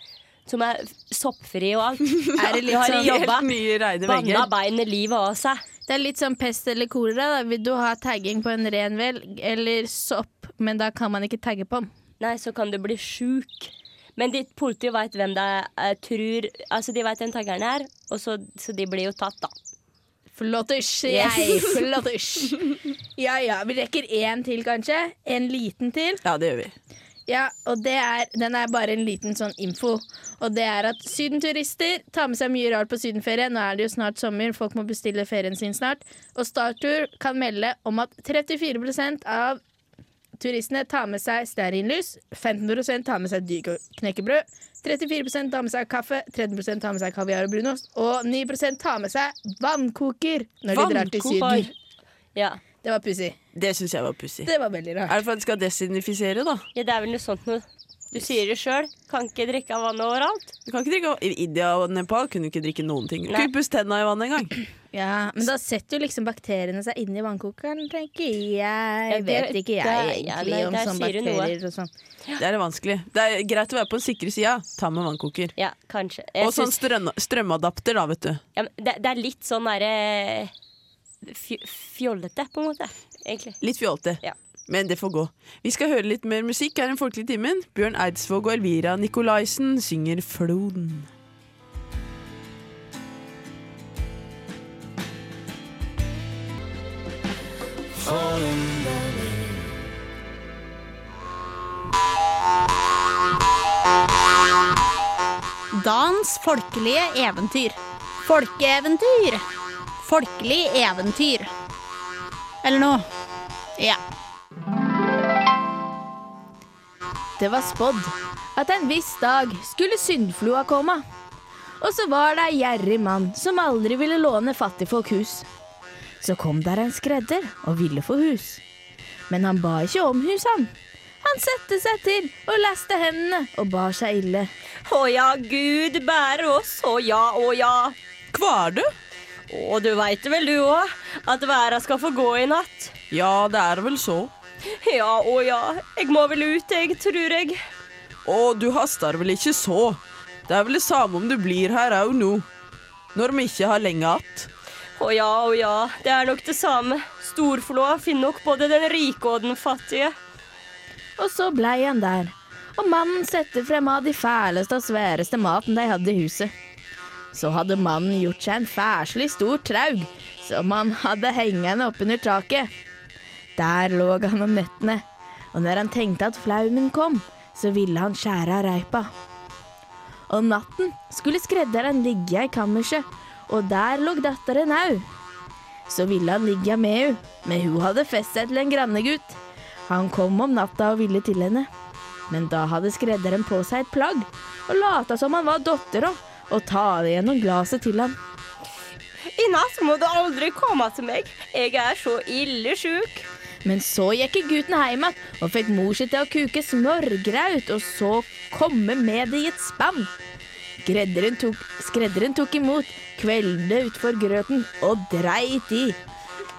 [SPEAKER 3] som er f- soppfrie og alt.
[SPEAKER 2] Er det litt
[SPEAKER 3] de har
[SPEAKER 2] sånn-
[SPEAKER 3] jobba,
[SPEAKER 1] Helt nye reine
[SPEAKER 3] banna
[SPEAKER 1] vegger.
[SPEAKER 3] beinet livet av seg.
[SPEAKER 2] Det er litt sånn pest eller kolera. Da. Vil du ha tagging på en ren vel, eller sopp, men da kan man ikke tagge på den.
[SPEAKER 3] Nei, så kan du bli sjuk. Men de, politiet veit hvem det er, eh, tror Altså, de veit hvem taggeren er, og så, så de blir jo tatt, da.
[SPEAKER 2] Flottisj,
[SPEAKER 3] Yes.
[SPEAKER 2] jeg. Flottisj. Ja ja, vi rekker én til, kanskje. En liten til.
[SPEAKER 1] Ja, det gjør vi.
[SPEAKER 2] Ja, og det er, Den er bare en liten sånn info. Og det er at sydenturister tar med seg mye rart på sydenferie. Nå er det jo snart sommer, folk må bestille ferien sin snart. Og Startur kan melde om at 34 av turistene tar med seg stearinlys, 15 tar med seg dyr og knekkebrød, 34 tar med seg kaffe, 13 tar med seg kaviar og brunost, og 9 tar med seg vannkoker når de drar til
[SPEAKER 1] Vannkoker?
[SPEAKER 2] Syden.
[SPEAKER 3] Ja.
[SPEAKER 2] Det var pussig.
[SPEAKER 1] Det syns jeg var pussig.
[SPEAKER 2] Det var veldig rart.
[SPEAKER 1] Er det for at det skal desinfisere, da?
[SPEAKER 3] ja, det er vel noe sånt noe. Du sier det sjøl. Kan ikke drikke av vannet overalt.
[SPEAKER 1] Du kan ikke drikke, I India og Nepal kunne du ikke drikke noen ting. Du kunne
[SPEAKER 3] Nei.
[SPEAKER 1] ikke pusse tenna i vann engang.
[SPEAKER 2] Ja, Men da setter jo liksom bakteriene seg inn i vannkokeren, tenker jeg. Jeg
[SPEAKER 3] det-
[SPEAKER 2] vet ikke jeg
[SPEAKER 3] det- ja,
[SPEAKER 2] egentlig
[SPEAKER 3] nei,
[SPEAKER 2] om
[SPEAKER 3] der
[SPEAKER 2] sånne
[SPEAKER 3] sier du noe.
[SPEAKER 2] bakterier og sånn.
[SPEAKER 1] Det er vanskelig. Det er greit å være på den sikre sida. Ta med vannkoker.
[SPEAKER 3] Ja, kanskje. Jeg
[SPEAKER 1] Og sånn
[SPEAKER 3] syns-
[SPEAKER 1] strøm, strømadapter, da, vet du.
[SPEAKER 3] Ja, men det, det er litt sånn derre fj fjollete, på en måte. Egentlig.
[SPEAKER 1] Litt fjolte.
[SPEAKER 3] Ja.
[SPEAKER 1] Men det får gå. Vi skal høre litt mer musikk her i Den folkelige timen. Bjørn Eidsvåg og Elvira Nikolaisen synger 'Floden'.
[SPEAKER 5] Dans folkelige eventyr. Folkeeventyr. Folkelig eventyr. Eller noe. Ja.
[SPEAKER 2] Det var spådd at en viss dag skulle syndfloa komme. Og så var det ei gjerrig mann som aldri ville låne fattigfolk hus. Så kom der en skredder og ville få hus. Men han ba ikke om hus, han. Han satte seg til og leste hendene og bar seg ille.
[SPEAKER 3] Å ja, Gud bærer oss, å ja, å ja.
[SPEAKER 1] Hva er du?
[SPEAKER 3] Og du veit vel du òg, at verda skal få gå i natt.
[SPEAKER 1] Ja, det er vel så.
[SPEAKER 3] Ja, å ja, jeg må vel ut, jeg, trur jeg.
[SPEAKER 1] Og du haster vel ikke så? Det er vel det samme om du blir her au nå. Når vi ikke har lenge att.
[SPEAKER 3] Å ja, å ja, det er nok det samme. Storflåa finner nok både den rike og den fattige.
[SPEAKER 2] Og så blei han der. Og mannen sette frem av de fæleste og sværeste maten de hadde i huset. Så hadde mannen gjort seg en fæslig stor traug, som han hadde hengende oppunder taket. Der lå han om nettene, og når han tenkte at flaumen kom, så ville han skjære av reipa. Om natten skulle skredderen ligge i kammerset, og der lå datteren au. Så ville han ligge med hun, men hun hadde fest seg til en grannegutt. Han kom om natta og ville til henne. Men da hadde skredderen på seg et plagg og lata som han var dattera, og ta det gjennom glasset til ham.
[SPEAKER 3] I natt må du aldri komme til meg. Jeg er så ille sjuk.
[SPEAKER 2] Men så gikk gutten hjem igjen og fikk mor si til å kuke smørgraut, og så komme med det i et spann. Skredderen tok, skredderen tok imot, kveldet utfor grøten og dreit i.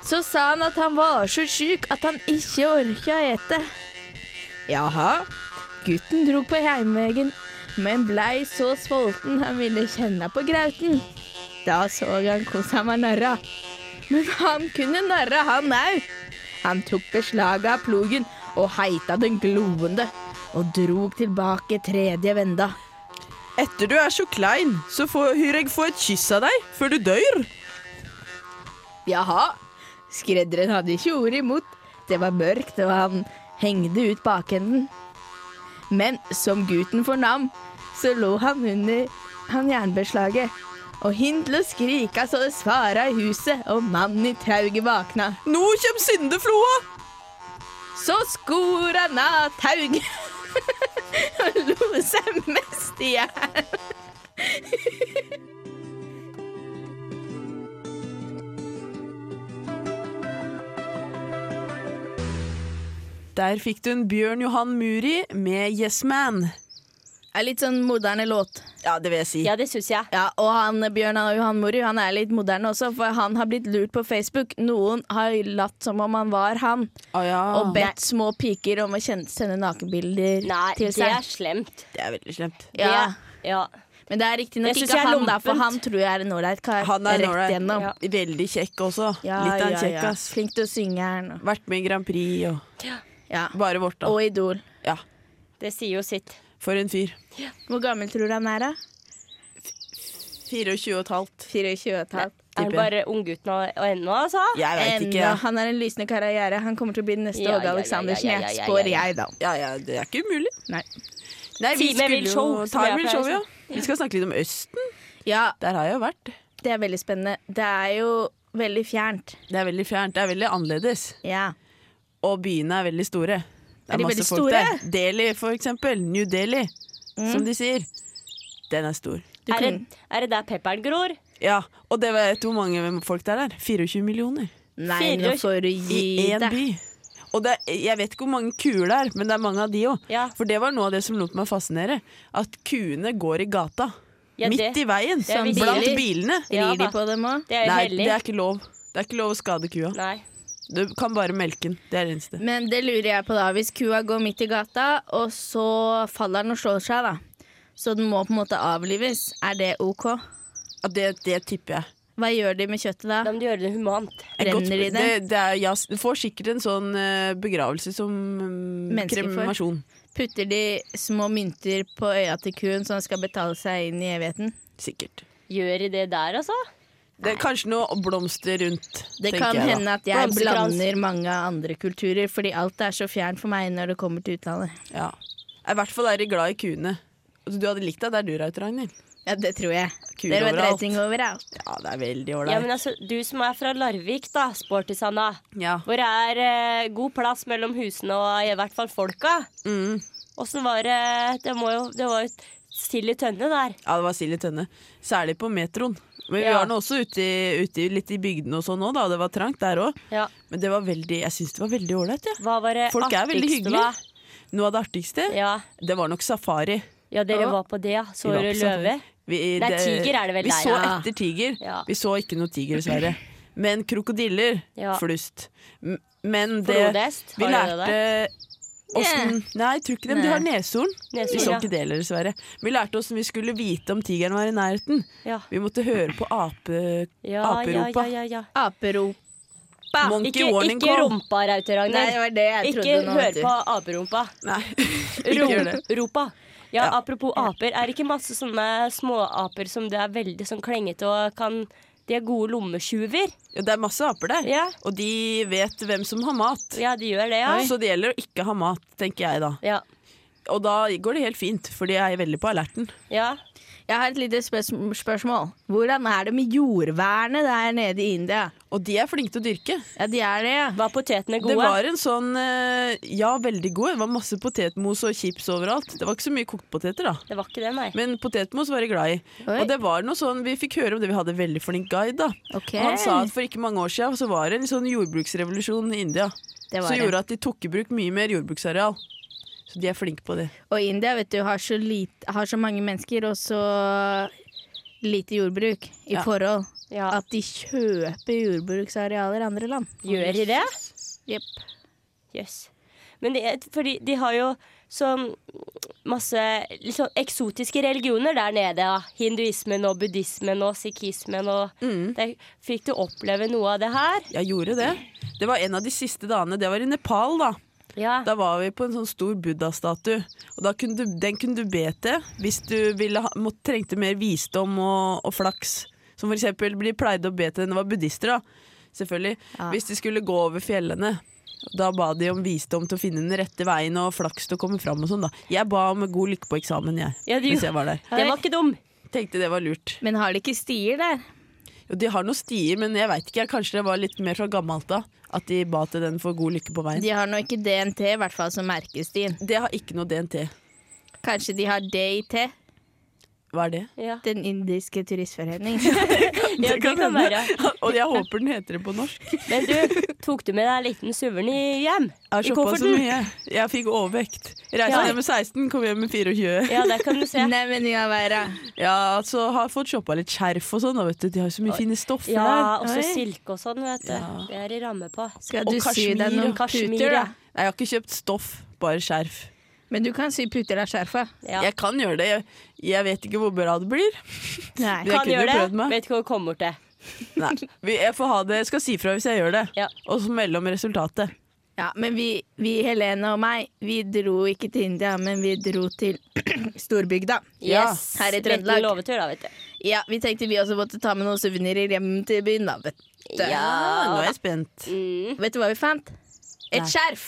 [SPEAKER 2] Så sa han at han var så syk at han ikke orka ete. Jaha. Gutten dro på heimvegen, men blei så sulten han ville kjenne på grauten. Da så han hvordan han var narra. Men han kunne narre, han au. Han tok beslaget av plogen og heita den gloende, og drog tilbake tredje venda.
[SPEAKER 1] Etter du er så klein, så får Hyreg få et kyss av deg før du dør.
[SPEAKER 2] Jaha. Skredderen hadde ikke ordet imot. Det var mørkt, og han hengte ut bakenden. Men som gutten fornam, så lå han under han jernbeslaget. Og hin til å skrike så det svara i huset, og mannen i tauget vakna.
[SPEAKER 1] Nå kjem syndefloa!
[SPEAKER 2] Så skor han av tauget og lo seg mest i hjel.
[SPEAKER 1] Der fikk du en Bjørn Johan Muri med Yes Man.
[SPEAKER 2] Er litt sånn moderne låt.
[SPEAKER 1] Ja, det vil jeg si.
[SPEAKER 3] Ja, det syns jeg.
[SPEAKER 2] Ja, og han Bjørn og Johan Mori, han er litt moderne også, for han har blitt lurt på Facebook. Noen har latt som om han var han,
[SPEAKER 1] Å ja.
[SPEAKER 2] og bedt små piker om å kjenne, sende nakenbilder
[SPEAKER 3] Nei,
[SPEAKER 2] til
[SPEAKER 3] det er
[SPEAKER 2] seg.
[SPEAKER 3] slemt.
[SPEAKER 1] Det er veldig slemt.
[SPEAKER 2] Ja,
[SPEAKER 3] Ja.
[SPEAKER 2] men det er
[SPEAKER 3] Det
[SPEAKER 2] riktignok
[SPEAKER 3] synes
[SPEAKER 2] ikke
[SPEAKER 3] jeg er
[SPEAKER 2] han, da, for
[SPEAKER 3] lompent.
[SPEAKER 2] han tror jeg er en ålreit kar.
[SPEAKER 1] Han er en
[SPEAKER 2] rett
[SPEAKER 1] ålreit.
[SPEAKER 2] igjennom.
[SPEAKER 3] Ja.
[SPEAKER 1] Veldig kjekk også.
[SPEAKER 2] Ja,
[SPEAKER 1] Litt av en
[SPEAKER 2] ja,
[SPEAKER 1] kjekk,
[SPEAKER 2] ja.
[SPEAKER 1] ass.
[SPEAKER 2] Flink til å synge her nå.
[SPEAKER 1] Vært med i Grand Prix og
[SPEAKER 2] Ja.
[SPEAKER 1] bare vårt, da.
[SPEAKER 2] Og Idol.
[SPEAKER 1] Ja.
[SPEAKER 3] Det sier jo sitt.
[SPEAKER 1] For en fyr.
[SPEAKER 2] Hvor gammel tror du han er, da?
[SPEAKER 1] 24 og et halvt.
[SPEAKER 2] 24 og et halvt.
[SPEAKER 3] Er
[SPEAKER 1] Tipper jeg.
[SPEAKER 3] det bare unggutten og og ennå, altså?
[SPEAKER 1] Jeg veit
[SPEAKER 2] Ennå.
[SPEAKER 1] ikke. Ja.
[SPEAKER 2] Han er en lysende karriere. Han kommer til å bli den neste
[SPEAKER 3] Ja, ja,
[SPEAKER 2] Åge
[SPEAKER 3] ja, ja,
[SPEAKER 2] Aleksandersen,
[SPEAKER 3] ja,
[SPEAKER 2] jeg
[SPEAKER 3] ja, ja,
[SPEAKER 2] spår
[SPEAKER 3] ja.
[SPEAKER 2] jeg, da.
[SPEAKER 1] Ja, ja, det er ikke umulig.
[SPEAKER 2] Nei.
[SPEAKER 1] Nei, vi
[SPEAKER 3] Time
[SPEAKER 1] skulle
[SPEAKER 3] will
[SPEAKER 1] jo-
[SPEAKER 3] show, som
[SPEAKER 1] Time
[SPEAKER 3] jeg
[SPEAKER 1] will
[SPEAKER 3] pleier å
[SPEAKER 1] show, ja. Vi skal snakke litt om Østen.
[SPEAKER 2] Ja,
[SPEAKER 1] Der har jeg jo vært.
[SPEAKER 2] Det er veldig spennende. Det er jo veldig fjernt.
[SPEAKER 1] Det er veldig fjernt. Det er veldig annerledes.
[SPEAKER 2] Ja.
[SPEAKER 1] Og byene er veldig store. Det
[SPEAKER 2] Er de
[SPEAKER 1] masse
[SPEAKER 2] veldig
[SPEAKER 1] folk
[SPEAKER 2] store?
[SPEAKER 1] der. Delhi, for eksempel. New Delhi, som de sier. Den er stor.
[SPEAKER 2] Du
[SPEAKER 3] Er det,
[SPEAKER 2] kunne-
[SPEAKER 3] er det der pepperen gror?
[SPEAKER 1] Ja, og det vet du hvor mange folk det er der? 24 millioner
[SPEAKER 2] Nei, nå
[SPEAKER 3] Fire-
[SPEAKER 2] får du
[SPEAKER 1] i
[SPEAKER 2] gi
[SPEAKER 1] én by.
[SPEAKER 2] deg.
[SPEAKER 1] Og det, er- jeg vet ikke hvor mange kuer det er, men det er mange av de òg.
[SPEAKER 3] Ja.
[SPEAKER 1] For det var noe av det som lot meg fascinere. At kuene går i gata.
[SPEAKER 3] Ja,
[SPEAKER 1] midt
[SPEAKER 3] det-
[SPEAKER 1] i veien. sånn
[SPEAKER 3] det er visst-
[SPEAKER 1] blant
[SPEAKER 2] biler.
[SPEAKER 1] bilene.
[SPEAKER 3] Ja,
[SPEAKER 2] Rir de
[SPEAKER 3] da.
[SPEAKER 2] på dem òg?
[SPEAKER 3] Det er jo
[SPEAKER 1] Nei,
[SPEAKER 3] hellig.
[SPEAKER 1] det er ikke lov. Det er ikke lov å skade kua.
[SPEAKER 3] Nei.
[SPEAKER 1] Du kan bare melke den. Det er det eneste.
[SPEAKER 2] Men det lurer jeg på, da. Hvis kua går midt i gata, og så faller den og slår seg, da. Så den må på en måte avlives. Er det OK?
[SPEAKER 1] Ja, det, det tipper jeg.
[SPEAKER 2] Hva gjør de med kjøttet da?
[SPEAKER 3] Da må du gjøre det humant.
[SPEAKER 1] Et godt-
[SPEAKER 2] Brenner de
[SPEAKER 1] Det,
[SPEAKER 2] det?
[SPEAKER 1] det er, ja, s- du får sikkert en sånn eh, begravelse som mm,
[SPEAKER 2] Mennesker får.
[SPEAKER 1] kremasjon.
[SPEAKER 2] Putter de små mynter på øya til kuen, så den skal betale seg inn i evigheten?
[SPEAKER 1] Sikkert.
[SPEAKER 3] Gjør de det der, altså?
[SPEAKER 1] Det er kanskje noe blomster rundt.
[SPEAKER 2] Det
[SPEAKER 1] tenker
[SPEAKER 2] kan
[SPEAKER 1] jeg da.
[SPEAKER 2] hende at jeg
[SPEAKER 3] Blomsterkrans.
[SPEAKER 2] blander mange andre kulturer, fordi alt er så fjernt for meg når det kommer til utlandet.
[SPEAKER 1] Ja. I hvert fall er de glad i kuene. Altså, Du hadde likt deg der du røyt, Ragnhild.
[SPEAKER 2] Ja, det tror jeg.
[SPEAKER 1] Kul
[SPEAKER 2] det er
[SPEAKER 1] overalt.
[SPEAKER 2] reiting overalt.
[SPEAKER 1] Ja, det er veldig
[SPEAKER 3] Ja, men
[SPEAKER 1] ålreit.
[SPEAKER 3] altså, Du som er fra Larvik, da, sporty Sanna.
[SPEAKER 1] Ja,
[SPEAKER 3] Hvor det er eh, god plass mellom husene og i hvert fall folka.
[SPEAKER 1] mm.
[SPEAKER 3] Åssen var det Det, må jo, det var jo sild i tønne der.
[SPEAKER 1] ja, det var Silje Tønne. Særlig på metroen. Men vi
[SPEAKER 3] Ja.
[SPEAKER 1] var nå også ute, i- ute i- litt i bygdene og sånn òg, da. og Det var trangt der òg.
[SPEAKER 3] Ja.
[SPEAKER 1] Men det var veldig, jeg syns det var veldig ålreit. Ja.
[SPEAKER 3] Hva var det
[SPEAKER 1] Folk er veldig
[SPEAKER 3] artigste,
[SPEAKER 1] hyggelige. Noe av det artigste,
[SPEAKER 3] da? Ja.
[SPEAKER 1] det var nok safari.
[SPEAKER 3] ja, dere
[SPEAKER 1] Ja.
[SPEAKER 3] var på det, ja. Så
[SPEAKER 1] Vi var
[SPEAKER 3] du
[SPEAKER 1] på
[SPEAKER 3] løve?
[SPEAKER 1] safari. sånn. Vi,
[SPEAKER 3] Nei, tiger er det vel
[SPEAKER 1] Vi
[SPEAKER 3] der,
[SPEAKER 1] så
[SPEAKER 3] ja.
[SPEAKER 1] etter tiger.
[SPEAKER 3] Ja.
[SPEAKER 1] Vi så ikke noe tiger, dessverre. Men krokodiller,
[SPEAKER 3] Ja.
[SPEAKER 1] flust. M- Men det
[SPEAKER 3] Flodhest?
[SPEAKER 1] Vi
[SPEAKER 3] Har dere det?
[SPEAKER 1] lærte åssen Nei, jeg tror ikke dem. De har neshorn. Vi så
[SPEAKER 3] Neshorn,
[SPEAKER 1] ikke det heller, dessverre. Vi lærte åssen vi skulle vite om tigeren var i nærheten.
[SPEAKER 3] ja.
[SPEAKER 1] Vi måtte høre på ape...
[SPEAKER 3] Ja, ja,
[SPEAKER 1] Aperopa.
[SPEAKER 3] ja, ja, ja.
[SPEAKER 2] Aperop.
[SPEAKER 1] Monkey
[SPEAKER 3] Ikke,
[SPEAKER 1] warning
[SPEAKER 3] ikke
[SPEAKER 1] call.
[SPEAKER 3] rumpa, Raute
[SPEAKER 2] Nei, det
[SPEAKER 3] Ragnhild.
[SPEAKER 2] var det jeg
[SPEAKER 3] Ikke
[SPEAKER 2] trodde nå.
[SPEAKER 3] hør
[SPEAKER 2] vet du.
[SPEAKER 3] på aperumpa.
[SPEAKER 1] Nei, ikke gjør det.
[SPEAKER 3] Rom- Ropa. Ja,
[SPEAKER 1] Ja.
[SPEAKER 3] Apropos aper, er det ikke masse sånne småaper som det er veldig sånn klengete og kan De er gode lommetyver.
[SPEAKER 1] Ja, det er masse aper der,
[SPEAKER 3] Ja.
[SPEAKER 1] og de vet hvem som har mat.
[SPEAKER 3] ja, de gjør det, ja.
[SPEAKER 1] Så det gjelder å ikke ha mat, tenker jeg da.
[SPEAKER 3] Ja,
[SPEAKER 1] Og da går det helt fint, for de er veldig på alerten.
[SPEAKER 3] ja.
[SPEAKER 2] Jeg har et lite spørs- spørsmål. Hvordan er det med jordvernet der nede i India?
[SPEAKER 1] Og de er flinke til å dyrke.
[SPEAKER 2] Ja, de er det, ja.
[SPEAKER 3] Var potetene
[SPEAKER 1] Det
[SPEAKER 3] gode?
[SPEAKER 1] var en sånn eh, Ja, veldig god. Det var masse potetmos og chips overalt. Det var ikke så mye kokt poteter, da.
[SPEAKER 3] Det var ikke det, nei.
[SPEAKER 1] Men potetmos var jeg glad i.
[SPEAKER 2] Oi.
[SPEAKER 1] Og det var noe sånn, Vi fikk høre om det, vi hadde en veldig flink guide. da.
[SPEAKER 2] Ok.
[SPEAKER 1] Og Han sa at for ikke mange år siden så var det en sånn jordbruksrevolusjon i India.
[SPEAKER 2] Det var
[SPEAKER 1] Som
[SPEAKER 2] det.
[SPEAKER 1] gjorde at de tok i bruk mye mer jordbruksareal. Så de er flinke på det.
[SPEAKER 2] Og India vet du, har, så lite, har så mange mennesker og så lite jordbruk i
[SPEAKER 1] Ja.
[SPEAKER 2] forhold.
[SPEAKER 3] Ja.
[SPEAKER 2] At de kjøper jordbruksarealer i andre land.
[SPEAKER 3] Gjør de det?
[SPEAKER 2] Jepp.
[SPEAKER 3] Jøss. Men det, er- fordi de har jo sånn masse litt sånn eksotiske religioner der nede. Ja. Hinduismen og buddhismen og sikhismen og
[SPEAKER 1] Mm.
[SPEAKER 3] der, Fikk du oppleve noe av det her?
[SPEAKER 1] Jeg gjorde det. Det var en av de siste dagene. Det var i Nepal, da.
[SPEAKER 3] Ja.
[SPEAKER 1] Da var vi på en sånn stor buddha-statue. Og da kunne du, den kunne du be til hvis du ville ha, må, trengte mer visdom og, og flaks. Som for eksempel de pleide å be til den det var buddhister, da. Selvfølgelig. Hvis de skulle gå over fjellene. Da ba de om visdom til å finne den rette veien og flaks til å komme fram. Og sånn, da. Jeg ba om god lykke på eksamen, jeg.
[SPEAKER 3] Ja, de-
[SPEAKER 1] hvis jeg var der.
[SPEAKER 3] Det var ikke dum.
[SPEAKER 1] Tenkte det var lurt.
[SPEAKER 2] Men har de ikke stier der?
[SPEAKER 1] Jo, de har noen stier, men jeg veit ikke. Kanskje det var litt mer fra gammelt av at de ba til den for god lykke på veien.
[SPEAKER 2] De har nå ikke DNT, i hvert fall som merkestien.
[SPEAKER 1] Det har ikke noe DNT.
[SPEAKER 2] Kanskje de har DIT,
[SPEAKER 1] Hva er det?
[SPEAKER 3] Ja.
[SPEAKER 2] Den indiske turistforening.
[SPEAKER 3] Ja, det kan være.
[SPEAKER 1] Og jeg håper den heter det på norsk.
[SPEAKER 3] Men du, tok du med deg en liten suvenir hjem?
[SPEAKER 1] Jeg
[SPEAKER 3] I
[SPEAKER 1] shoppa så
[SPEAKER 3] kofferten?
[SPEAKER 1] mye. Jeg fikk overvekt. Reiste
[SPEAKER 3] Ja.
[SPEAKER 1] ned med 16, kom hjem med 24.
[SPEAKER 3] Ja, der kan du se.
[SPEAKER 2] Nei, men ja, Vera.
[SPEAKER 1] Ja, så har jeg fått shoppa litt skjerf og sånn, da, vet du. De har så mye fine stoffer
[SPEAKER 3] Ja, også
[SPEAKER 2] Oi.
[SPEAKER 3] silke og sånn, vet du.
[SPEAKER 1] Ja.
[SPEAKER 3] Det er i ramme på.
[SPEAKER 2] Skal
[SPEAKER 1] Og
[SPEAKER 2] du sy
[SPEAKER 1] kasjmir,
[SPEAKER 2] deg noen
[SPEAKER 3] og kasjmir,
[SPEAKER 2] puter,
[SPEAKER 3] ja.
[SPEAKER 2] da?
[SPEAKER 1] der. Nei, jeg har ikke kjøpt stoff, bare skjerf.
[SPEAKER 2] Men du kan sy puter av skjerfet.
[SPEAKER 3] Ja.
[SPEAKER 1] Jeg kan gjøre det. Jeg, jeg vet ikke hvor bra det blir.
[SPEAKER 2] Nei.
[SPEAKER 1] jeg
[SPEAKER 3] Kan
[SPEAKER 1] kunne
[SPEAKER 3] gjøre
[SPEAKER 1] prøvd
[SPEAKER 3] det.
[SPEAKER 1] meg.
[SPEAKER 3] Vet ikke hva det kommer til.
[SPEAKER 1] Nei, vi- jeg får ha det. Jeg skal si fra hvis jeg gjør det.
[SPEAKER 3] Ja.
[SPEAKER 1] Og så melde om resultatet.
[SPEAKER 2] Ja, men vi, vi, Helene og meg, vi dro ikke til India, men vi dro til storbygda.
[SPEAKER 1] Ja.
[SPEAKER 3] Yes.
[SPEAKER 2] Her i
[SPEAKER 3] Liten
[SPEAKER 2] Trøndelag.
[SPEAKER 3] låvetur, da, vet du.
[SPEAKER 2] Ja, vi tenkte vi også måtte ta med noen suvenirer hjem til byen, da. Vet du.
[SPEAKER 1] Ah, nå er
[SPEAKER 3] Ja.
[SPEAKER 1] jeg spent.
[SPEAKER 3] Mm.
[SPEAKER 2] Vet du hva vi fant? Et
[SPEAKER 1] Nei.
[SPEAKER 2] skjerf!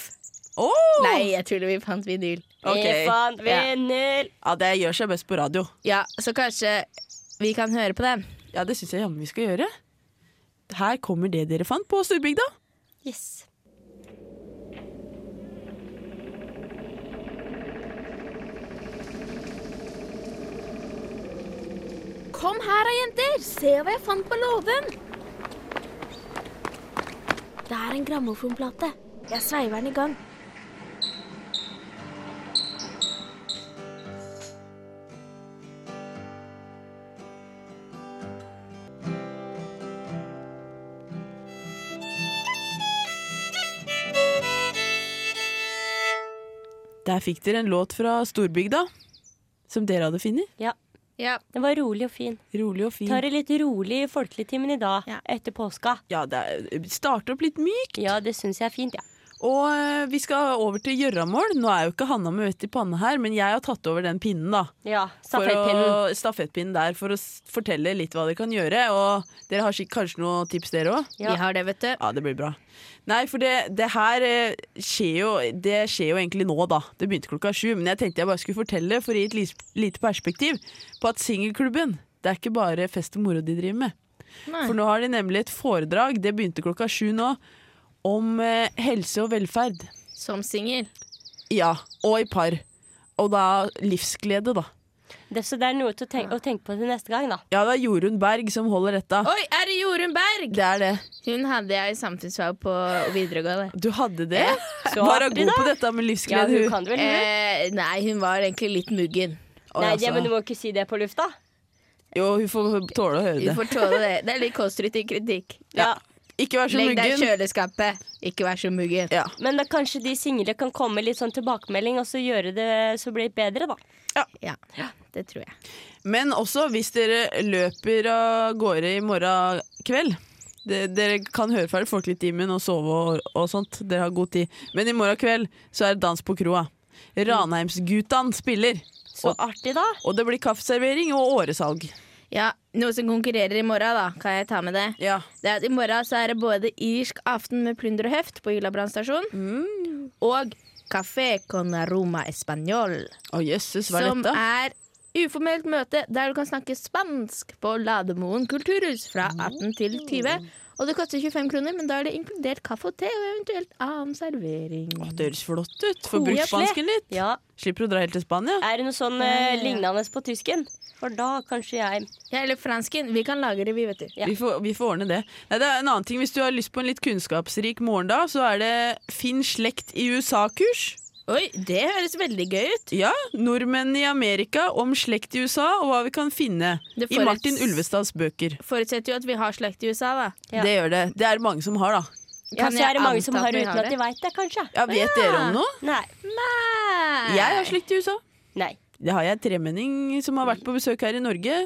[SPEAKER 1] Åh!
[SPEAKER 2] Nei, jeg tuller, vi fant vinyl.
[SPEAKER 1] Ok.
[SPEAKER 3] Vi fant vinyl.
[SPEAKER 1] Ja, det gjør seg best på radio.
[SPEAKER 2] Ja, så kanskje vi kan høre på den.
[SPEAKER 1] Ja, det syns jeg jammen vi skal gjøre. Her kommer det dere fant på Storbygda.
[SPEAKER 3] Yes.
[SPEAKER 6] Kom her da, jenter. Se hva jeg fant på låven. Det er en grammofonplate. Jeg sveiver den i gang.
[SPEAKER 1] Der fikk dere en låt fra Storbygda. Som dere hadde funnet.
[SPEAKER 3] Ja.
[SPEAKER 2] Ja.
[SPEAKER 3] Den var rolig og fin.
[SPEAKER 1] Rolig og fin.
[SPEAKER 3] Tar det litt rolig i folkeligtimen i dag,
[SPEAKER 2] Ja.
[SPEAKER 3] etter påska.
[SPEAKER 1] Ja, det er- starter opp litt myk.
[SPEAKER 3] Ja, det syns jeg er fint, ja.
[SPEAKER 1] Og eh, vi skal over til gjøramål. Nå er jo ikke Hanna med vett i panne her, men jeg har tatt over den pinnen, da.
[SPEAKER 3] Ja,
[SPEAKER 1] For
[SPEAKER 3] Stafettpinnen.
[SPEAKER 1] Å, stafettpinnen der, for å s- fortelle litt hva dere kan gjøre. Og dere har sikk- kanskje noen tips, dere òg?
[SPEAKER 3] Ja.
[SPEAKER 2] Vi har det, vet du.
[SPEAKER 1] Ja, det blir bra. Nei, for det, det her eh, skjer jo, det skjer jo egentlig nå, da. Det begynte klokka sju, men jeg tenkte jeg bare skulle fortelle, for å gi et lis- lite perspektiv, på at singelklubben, det er ikke bare fest og moro de driver med.
[SPEAKER 2] Nei.
[SPEAKER 1] For nå har de nemlig et foredrag, det begynte klokka sju nå, om eh, helse og velferd.
[SPEAKER 2] Som singel.
[SPEAKER 1] Ja, og i par. Og da livsglede, da.
[SPEAKER 3] Det, så det er noe til å tenke, å tenke på til neste gang, da.
[SPEAKER 1] Ja, det er Jorunn Berg som holder dette.
[SPEAKER 2] Oi, er det Jorunn Berg?
[SPEAKER 1] Det er det.
[SPEAKER 2] Hun hadde jeg i samfunnsfag på videregående.
[SPEAKER 1] Du hadde det?
[SPEAKER 3] så
[SPEAKER 1] Var hun
[SPEAKER 3] artig,
[SPEAKER 1] god
[SPEAKER 3] da.
[SPEAKER 1] på dette med
[SPEAKER 3] Ja,
[SPEAKER 1] livsglede?
[SPEAKER 3] hun
[SPEAKER 1] hun?
[SPEAKER 3] kan det vel? hun?
[SPEAKER 2] Eh, nei, hun var egentlig litt muggen.
[SPEAKER 1] Oi,
[SPEAKER 3] Nei,
[SPEAKER 1] altså.
[SPEAKER 3] ja, men du må ikke si det på lufta.
[SPEAKER 1] Jo, hun får tåle å høre
[SPEAKER 2] Vi
[SPEAKER 1] det.
[SPEAKER 2] får tåle det. Det er litt konstruktiv kritikk.
[SPEAKER 1] Ja. Ikke vær så
[SPEAKER 2] Legg deg i
[SPEAKER 1] muggen.
[SPEAKER 2] kjøleskapet. Ikke vær så muggen.
[SPEAKER 1] Ja.
[SPEAKER 3] Men da kanskje de single kan komme litt sånn tilbakemelding, og så gjøre det så blir det bedre, da.
[SPEAKER 2] Ja, det tror jeg.
[SPEAKER 1] Men også hvis dere løper av gårde i morgen kveld. De- Dere kan høre ferdig Folkeligtimen og sove og, og sånt. Dere har god tid. Men i morgen kveld så er det dans på kroa. Ranheimsgutan spiller.
[SPEAKER 3] Så artig, da.
[SPEAKER 1] Og det blir kaffeservering og åresalg.
[SPEAKER 2] Ja, Noe som konkurrerer i morgen, da. Kan jeg ta med det?
[SPEAKER 1] Ja.
[SPEAKER 2] Det er at I morgen så er det både irsk aften med plunder og høft på Ylabrann stasjon.
[SPEAKER 1] Mm.
[SPEAKER 2] Og Café con aroma español.
[SPEAKER 1] Å jøsses, hva er
[SPEAKER 2] Som
[SPEAKER 1] dette?
[SPEAKER 2] er Uformelt møte der du kan snakke spansk på Lademoen kulturhus fra 18 til 20. Og det koster 25 kroner, men da er det inkludert kaffe og te og eventuelt annen servering.
[SPEAKER 1] Å, det høres flott ut. Får brukt spansken litt.
[SPEAKER 3] Ja.
[SPEAKER 1] Slipper å dra helt til Spania.
[SPEAKER 3] Er det noe sånn eh, lignende på tysken? For da kanskje jeg
[SPEAKER 2] Ja, eller fransken. Vi kan lage det, vi, vet du.
[SPEAKER 3] Ja.
[SPEAKER 1] Vi, får, vi får ordne det. Nei, det er en annen ting. Hvis du har lyst på en litt kunnskapsrik morgendag, så er det Finn slekt i USA-kurs.
[SPEAKER 2] Oi, det høres veldig gøy ut.
[SPEAKER 1] Ja, nordmenn i Amerika om slekt i USA og hva vi kan finne
[SPEAKER 2] Det
[SPEAKER 1] i
[SPEAKER 2] foruts-
[SPEAKER 1] Martin Ulvestads bøker.
[SPEAKER 2] Forutsetter jo at vi har slekt i USA, da.
[SPEAKER 3] Ja.
[SPEAKER 1] Det gjør det. Det er det mange som har, da.
[SPEAKER 3] Ja,
[SPEAKER 2] Kan
[SPEAKER 3] så
[SPEAKER 2] jeg
[SPEAKER 3] er det mange som
[SPEAKER 2] anta at
[SPEAKER 3] har
[SPEAKER 2] vi
[SPEAKER 3] uten
[SPEAKER 2] har
[SPEAKER 3] at de veit det, kanskje.
[SPEAKER 1] Ja, vet dere om noe?
[SPEAKER 3] Nei.
[SPEAKER 1] Jeg har slekt i USA.
[SPEAKER 3] Nei.
[SPEAKER 1] Det har jeg en tremenning som har vært på besøk her i Norge.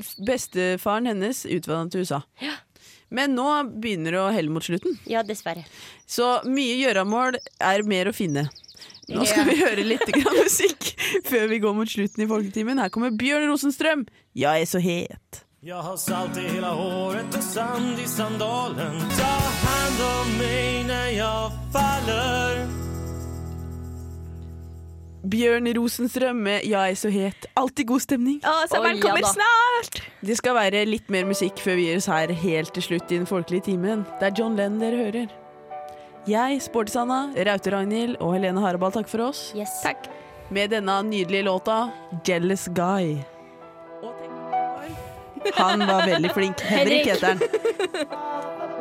[SPEAKER 1] F- Bestefaren hennes utvandret til USA. Men nå begynner det å helle mot slutten.
[SPEAKER 3] Ja, dessverre.
[SPEAKER 1] Så mye gjøramål er mer å finne. Nå skal vi høre litt grann musikk før vi går mot slutten i folketimen. Her kommer Bjørn Rosenstrøm. Ja, jeg er så het.
[SPEAKER 7] Jag har salt i hela håret och sand i sandalen. Ta hand om mig när jag faller.
[SPEAKER 1] Bjørn Rosenstrøm med Ja, jeg er så het. Alltid god stemning.
[SPEAKER 2] Å,
[SPEAKER 3] Oi,
[SPEAKER 2] sommeren
[SPEAKER 3] ja
[SPEAKER 2] kommer
[SPEAKER 3] da.
[SPEAKER 2] snart!
[SPEAKER 1] Det skal være litt mer musikk før vi gir oss her helt til slutt i den folkelige timen. Det er John Lennon dere hører. Jeg, Sportis-Anna, Raute-Ragnhild og Helene Harabal takker for oss
[SPEAKER 3] Yes.
[SPEAKER 2] Takk.
[SPEAKER 1] med denne nydelige låta 'Jealous Guy'. Og tenk- Han var veldig flink. Henrik
[SPEAKER 3] Henrik.
[SPEAKER 1] heter han.